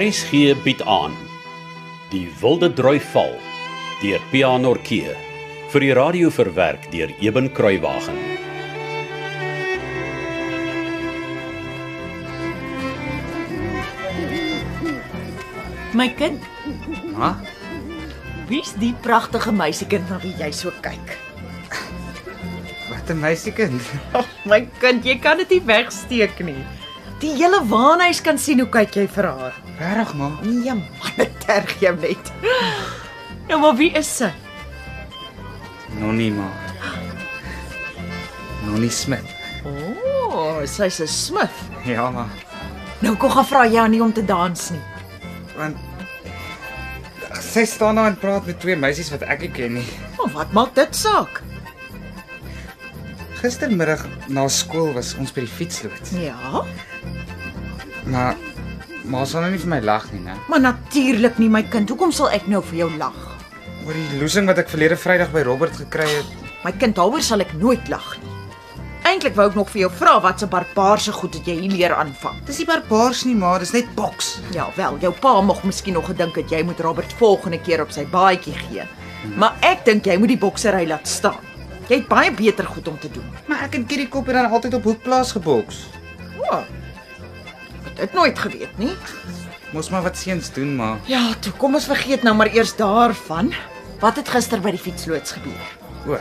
RSG bied aan Die Wilde Droi Val deur Pianorkee vir die radio verwerk deur Eben Kruiwagen. My kind, Ha? wie's die pragtige meisiekind na wie jy so kyk? Wat 'n meisiekind. Ag, my kind, jy kan dit nie wegsteek nie. Die hele waanhuis kan sien hoe kyk jy vir haar. Regtig ma? Nee man, dit terg jou net. Nou maar wie is sy? Nonnie ma. Nonnie Smith. O, oh, sy's 'n Smith. Ja ma. Nou kom gaan vra jy aan nie om te dans nie. Want sy staan daar en praat met twee meisies wat ek nie ken nie. Maar wat maak dit saak? Gistermiddag na skool was ons by die fietsloods. Ja, Maar ma sal nou nie vir my lag nie, né? maar natuurlik nie my kind. Hoekom sal ek nou vir jou lag? Oor die losing wat ek verlede Vrydag by Robert gekry het. My kind, daaroor sal ek nooit lag nie. Eintlik wou ek nog vir jou vra wat se barbaarse goed het jy hier leer aanvang. Dis nie barbaars nie, ma, dis net boks. Ja wel, jou pa mag miskien nog gedink het jy moet Robert volgende keer op sy baadjie gee. Maar ek dink jy moet die boksery laat staan. Jy het baie beter goed om te doen. Maar ek en Kitty Kop het dan altyd op hoekplaas geboks. O. Ek het dit nooit geweet nie. Moes maar wat seuns doen, ma. Ja, toe kom ons vergeet nou maar eers daarvan. Wat het gister by die fietsloods gebeur? O.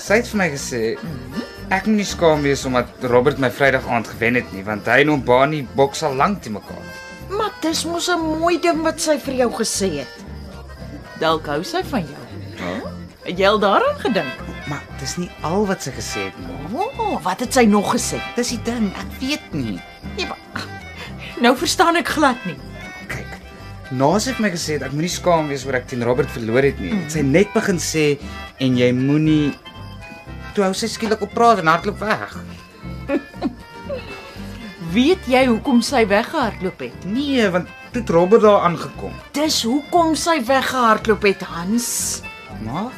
Sy het vir my gesê ek moet nie skaam wees omdat Robert my Vrydag aand gewen het nie, want hy en hom Bani boks al lank te mekaar. Maar dis mos 'n mooi ding wat sy vir jou gesê het. Dalk hou sy van jou. Ja. Het jy al daaraan gedink? Maar dis nie al wat sy gesê het nie. O, oh, wat het sy nog gesê? Dis die ding, ek weet nie. Nee, maar- Nou verstaan ek glad nie. Kyk. Naas het my gesê het, ek moenie skaam wees oor ek teen Robert verloor het nie. Het sy net begin sê en jy moenie toe hou sy skielik op praat en hardloop weg. Weet jy hoekom sy weggehardloop het? Nee, want toe het Robert daar aangekom. Dis hoekom sy weggehardloop het, Hans. Maar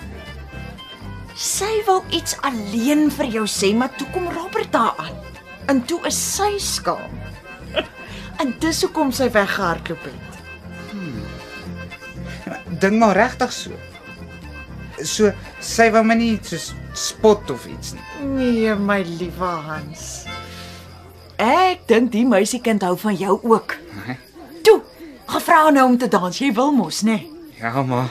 Sy wou iets alleen vir jou sê, maar toe kom Robert daar aan. En toe is sy skaam. en dis hoekom sy weggehardloop het. ding maar regtig so. So sy wou my nie so spot of iets nie. Nee, my liewe Hans. Ek dink die meisiekind hou van jou ook. Toe, gevra nou om te dans. Jy wil mos, né? Nee? Ja, maar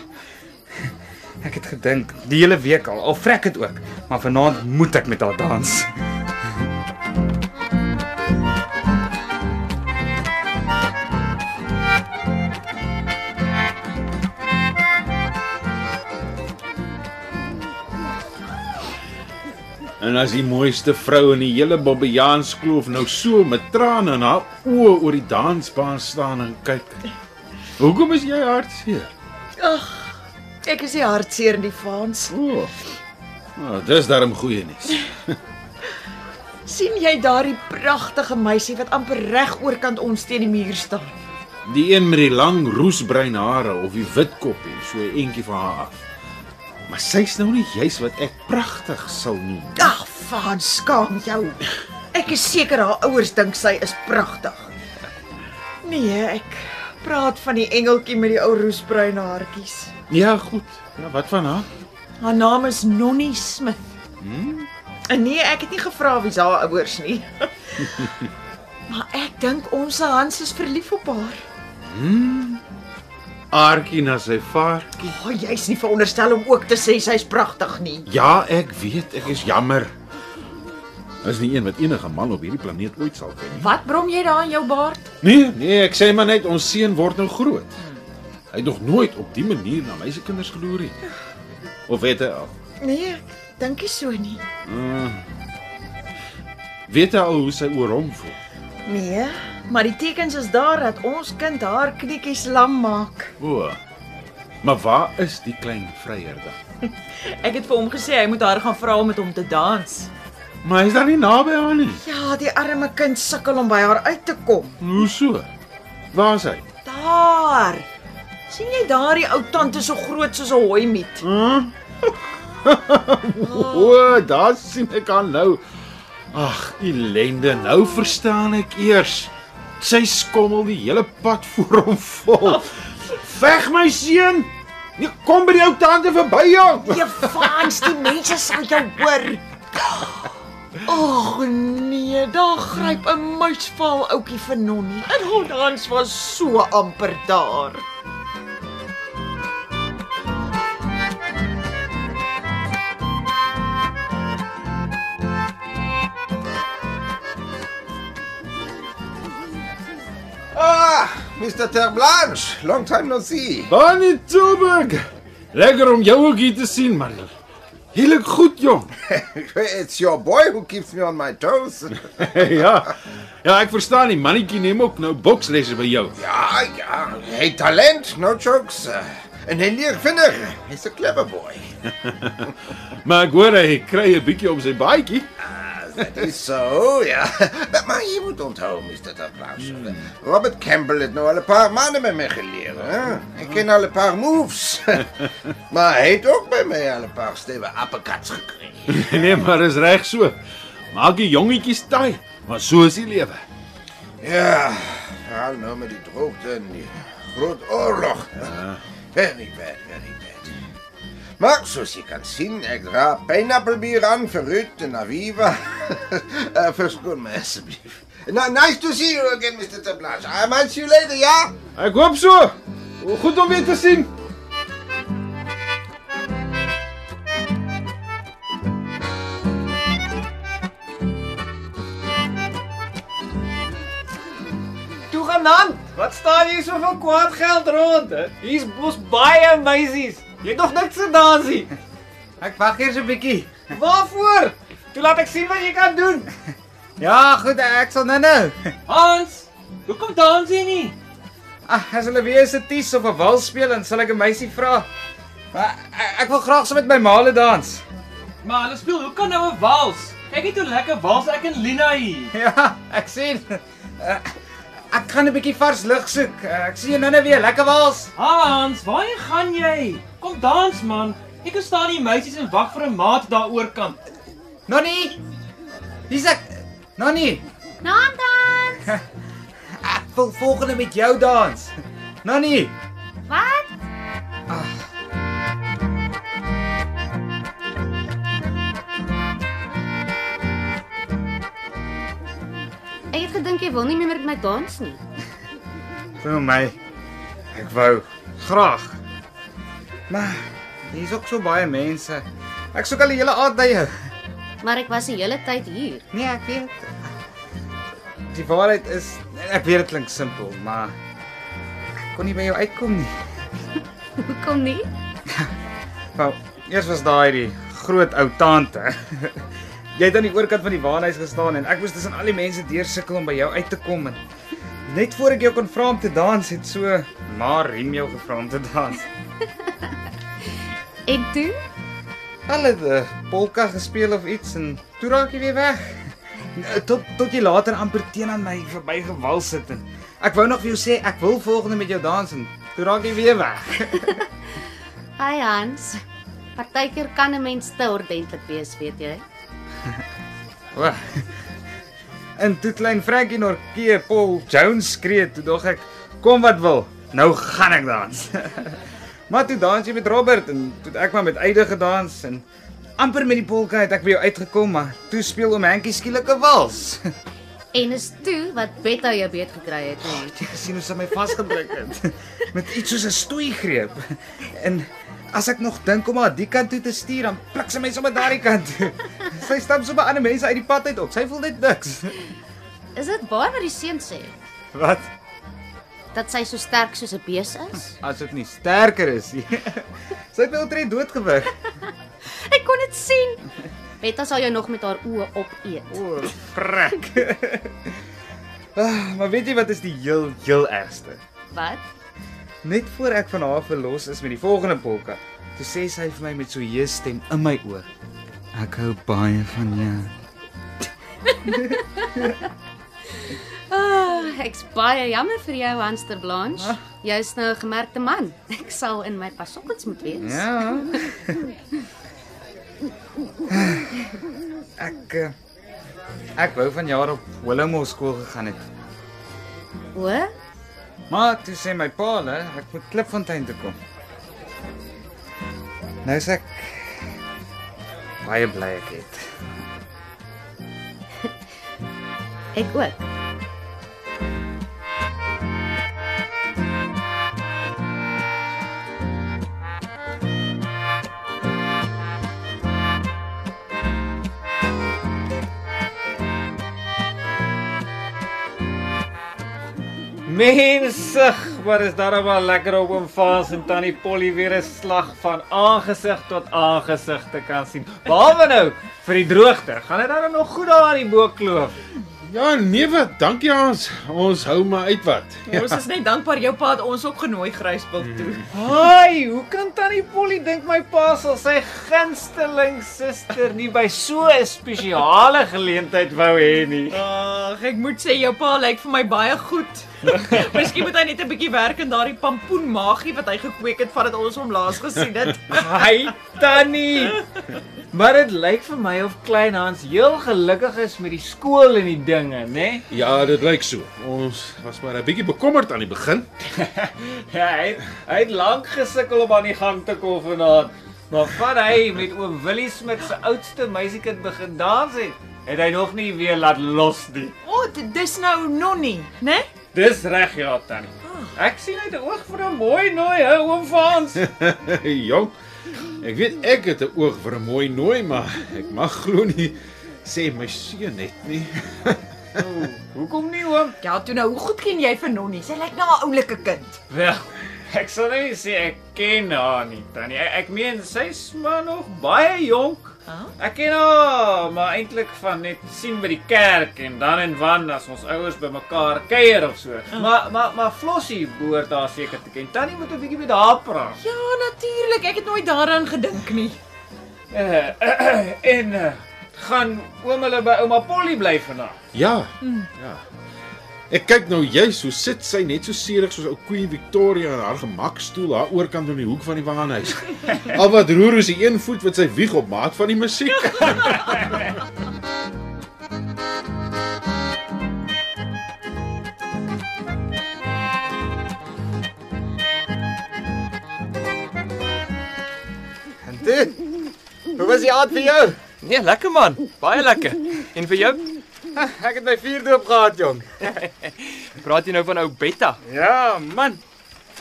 ek het gedink die hele week al, al vrek dit ook, maar vanaand moet ek met haar dans. En as die mooiste vrou in die hele Bobbejans kloof nou so met trane in haar oë oor die dansbaan staan en kyk. Hoekom is jy hartseer? Ek is nie hartseer in die vaans nie. O. Nou, dis darm goeie nuus. sien jy daardie pragtige meisie wat amper reg oorkant ons teen die muur staan? Die een met die lang roesbruin hare of die wit koppie, so 'n entjie van haar af. Maar sy's nou nie juis wat ek pragtig sal noem. Ag, van skaam jou. Ek is seker haar ouers dink sy is pragtig. Nee, ek praat van die engeltjie met die ou roesbruin haartjies. Ja, goed. Ja, wat van haar? Haar naam is Nonnie Smith. Hmm? En nee, ek het nie gevra wie se haar ouers nie. maar ek dink ons se Hans is verlief op haar. Aartjie na sy vaartjie. O, oh, jy's nie veronderstel om ook te sê sy's pragtig nie. Ja, ek weet, ek is jammer. Is nie een wat enige man op hierdie planeet ooit sal ken nie. Wat brom jy daar in jou baard? Nee, nee, ek sê maar net ons seun word nou groot. Hy het nog nooit op die manier na my se kinders geloer nie. Of weet hy al? Nee, dankie so nie. Weet hy al hoe sy oor hom voel? Nee, maar die tekens is daar dat ons kind haar knietjies lam maak. O. Maar waar is die klein vryer dan? Ek het vir hom gesê hy moet haar gaan vra om met hom te dans. Maar hy's dan nie naby haar nie. Ja, die arme kind sukkel om by haar uit te kom. Hoe so? Waar is hy? Daar. sien jy daardie ou tante so groot soos 'n hooi miet? O, daar sien ek haar nou. Ag, ellende, nou verstaan ek eers. Sy skommel die hele pad voor hom vol. Veg my seun. Nee, kom by die ou tante verby jou. Jefans, die mense sal jou hoor. Ag nee, daar gryp 'n muisval ouetjie vir Nonnie. En haar dans was so amper daar. Ah, Mr. Terblanche, long time no see. Bonnie Tilburg. Lekker om jou ook hier te sien, man. Jy lyk goed, jong. It's your boy who keeps me on my toes. ja. Ja, ek verstaan die mannetjie neem ook nou bokslesse by jou. ja, ja, hey talent, no jokes. Uh, en hy leer vinnig. He's a clever boy. Maar ek hoor hy kry 'n bietjie op sy baadjie. That is so, ja. Maar- Maar jy moet onthou, Mr. Terblanche. Robert Campbell het nou al 'n paar maande met my geleer, hè? Ek ken al 'n paar moves. maar hy het ook by my al 'n paar stewe uppercuts gekry. nee, maar is reg so. Maak die jongetjies taai, maar so is die lewe. Ja, al nou met die droogte en die groot oorlog. Very bad, very bad. Maar soos jy kan sien, ek dra pineappelbier aan vir Ruud en Aviva. uh, Verskoon my asseblief. No, nice to see you again, Mr. Tablas. I might Ah, see you later, ja? Ek hoop so. Goed om weer te sien. Toegenant, wat staan hier soveel kwaad geld rond? hè? Hier's mos baie meisies. Jy het nog niks gedaan nie. Ek wag eers 'n bietjie. Waarvoor? Toe laat ek sien wat jy kan doen. Ja, goed, ek sal nou-nou. Hans, hoekom dans jy nie? Ag, Ah, as hulle weer 'n ties of 'n wals speel, dan sal ek 'n meisie vra. Maar e-, ek, ek wil graag saam so met my maale dans. Maar hulle speel hoe kan nou 'n wals? Kyk net hoe lekker wals ek en Lina hier. Ja, ek sien. Eh, Ek gaan 'n bietjie vars lug soek. Eh, Ek sien jou nou-nou weer lekker wals. Hans, waarheen gaan jy? Kom dans man. Ek kan staan die meisies en wag vir 'n maat daaroor kant. Nonnie. Dis ek Nonnie, Naam dan. ek wil volgende met jou dans. Nonnie. Wat? Ek het gedink jy wil nie meer met my dans nie. Vir my. Ek wou graag. Maar hier's ook so baie mense. Ek soek al die hele aand by jou. Maar ek was die hele tyd hier. Nee, ek weet. Die waarheid is ek weet dit klink simpel, maar ek kon nie by jou uitkom nie. Hoekom nie? Wel, eers was daai die groot ou tante. Jy het aan die oorkant van die waanhuis gestaan en ek moes tussen al die mense deursukkel om by jou uit te kom en net voor ek jou kon vra om te dans, het so maar Riem jou gevra om te dans. Ek toe? Hulle het 'n polka gespeel of iets en toe raak jy weer weg. Eh, Tot tot jy later amper teen aan my verby gewal sit en ek wou nog vir jou sê ek wil volgende met jou dans en toe raak jy weer weg. Hi Hans. Partykeer kan 'n mens te ordentlik wees, weet jy. O. En toe klein Frankie Norkee Paul Jones skree toe dog ek kom wat wil. Nou gaan ek dans. maar toe dans jy met Robert en toe het ek maar met Eide gedans en amper met die polka het ek by jou uitgekom maar toe speel om Hankie skielik 'n wals. En is toe wat Betta jou beet gekry het nie. Jy sien hoe sy my vasgedruk het met iets soos 'n stoeigreep. En as ek nog dink om haar die kant toe te stuur, dan pluk sy my sommer daardie kant toe. Sy stap sommer ander mense uit die pad uit op. Sy voel net niks. Is dit waar wat die seun sê Wat? dat sy so sterk soos 'n bees is? As dit nie sterker is nie. Sy het nou my omtrent doodgewig. Ek kon dit sien. Betta sal jou nog met haar oë opeet. O, frek. Ah, maar weet jy wat is die heel heel ergste? Wat? Net voor ek van haar verlos is met die volgende polka, toe sê sy vir my met so heë stem in my oor. Ek hou baie van jou. Oh, ek's baie jammer vir jou Hanster Blanche. Jy's nou 'n gemerkte man. Ek sal in my pasokkels moet wees. Ja. ek eh, ek wou van jaar op Willowmore skool gegaan het. O, Maar toe sê my pa, hè, ek moet Klipfontein toe kom. Nou is ek baie bly ek het. ek ook. Mensig, maar is daar wel lekker om oom Frans en tannie Polly weer 'n slag van aangesig tot aangesig te kan sien. Behalwe nou vir die droogte. Gaan dit dan nog goed daar in die Boekkloof? Ja, nee wat, dankie ons. Ons hou maar uit wat. Ons is net dankbaar jou pa het ons ook genooi Grysbil toe. Haai, hoe kan tannie Polly dink my pa sal sy gunsteling suster nie by so 'n spesiale geleentheid wou hê nie? Ag, ek moet sê jou pa lyk vir my baie goed. Miskien moet hy net 'n bietjie werk aan daardie pampoen magie wat hy gekweek het vandat ons hom laas gesien het. Hi Tannie. Maar dit lyk vir my of Klein Hans heel gelukkig is met die skool en die dinge, né? Nee? Ja, dit lyk so. Ons was maar 'n bietjie bekommerd aan die begin. Ja, hy het, hy het lank gesukkel om aan die gang te kom vanaand. Maar van hy met oom Willie Smit se oudste meisiekind begin dans het, het hy nog nie weer laat los nie. O, oh, dis nou Nonnie, né? Dis reg ja, Tannie. Ek sien hy het 'n oog vir 'n mooi nooi, hou oom Frans. Jong. Ek weet ek het 'n oog vir 'n mooi nooi, maar ek mag glo nie sê my seun net nie. Hoekom nie oom? Ja, toe nou, hoe goed ken jy vir Nonnie? Sy lyk na 'n oulike kind. Wel, ek sal nou nie sê ek ken haar nie, Tannie. Ek, ek meen sy's maar nog baie jonk. Ek ken haar maar eintlik van net sien by die kerk en dan en wan as ons ouers bymekaar kuier of so. Maar maar maar Flossie behoort haar seker te ken. Tannie moet 'n bietjie met haar praat. Ja, natuurlik, ek het nooit daaraan gedink nie. Eh, en eh, gaan oom hulle by ouma Polly bly vanaand. Ja. Ja. Ek kyk nou juis hoe sit sy net so seerig soos ou Queen Victoria in haar gemakstoel daar oorkant om die hoek van die waanhuis. Al wat roer is die een voet wat sy wieg op maak van die musiek. En dit. Hoe was die aand vir jou? Nee, lekker man. Baie lekker. En vir jou? Ek het my vierdoop gehad, jong. Praat jy nou van ou Betta? Ja, man.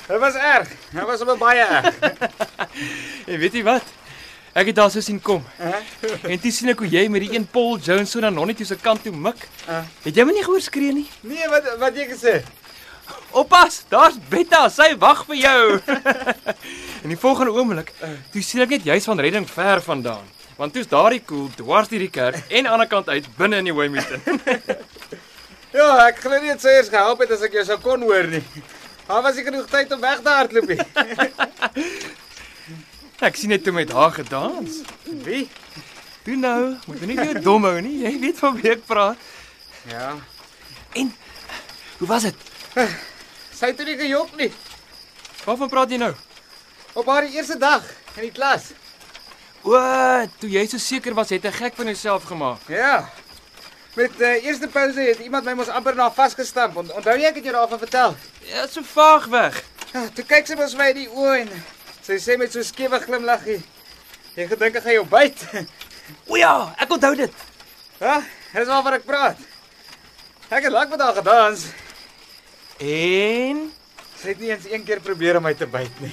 Dit was erg. Dit was op baie erg. En weet jy wat? Ek het daar so sien kom. En toe sien ek hoe jy met die een Paul Jones so na Nonnetjie se kant toe mik. Het jy my nie gehoor skree nie? Nee, wat wat jy gesê? Oppas, daar's Betta, sy wag vir jou. Eh. In die volgende oomblik, toe sien ek net juis van redding ver vandaan. Want toe's daardie koel dwars deur die kerk en aan die ander kant uit binne in die Hoëmeter. Ja, ek glo nie dit sou eers gehelp het as ek jou sou kon hoor nie. Daar was nie genoeg tyd om weg te hardloop nie. Ek sien net toe met haar gedans. Wie? Toe nou, moet jy nie weer dom hou nie. Jy weet van wie ek praat. Ja. Hoe was dit? Sy het toe nie gejok nie Waarvan praat jy nou? op haar eerste dag in die klas. O, eh, toe jy so seker was, het 'n gek van jouself gemaak. Ja. Met uh, eerste pouse het iemand my mos amper na vasgestamp. On- Onthou jy ek het jou daarvan vertel? Ja, so vaag weg. Ja, toe kyk sy mos my in die oë en sy sê met so 'n skewe glimlaggie: "Jy gedink ek gaan jou byt?" O ja, ek onthou dit. Ja, dis waaroor ek praat. Ek het lank met haar gedans. En Sy het nie eens een keer probeer om my te byt nie.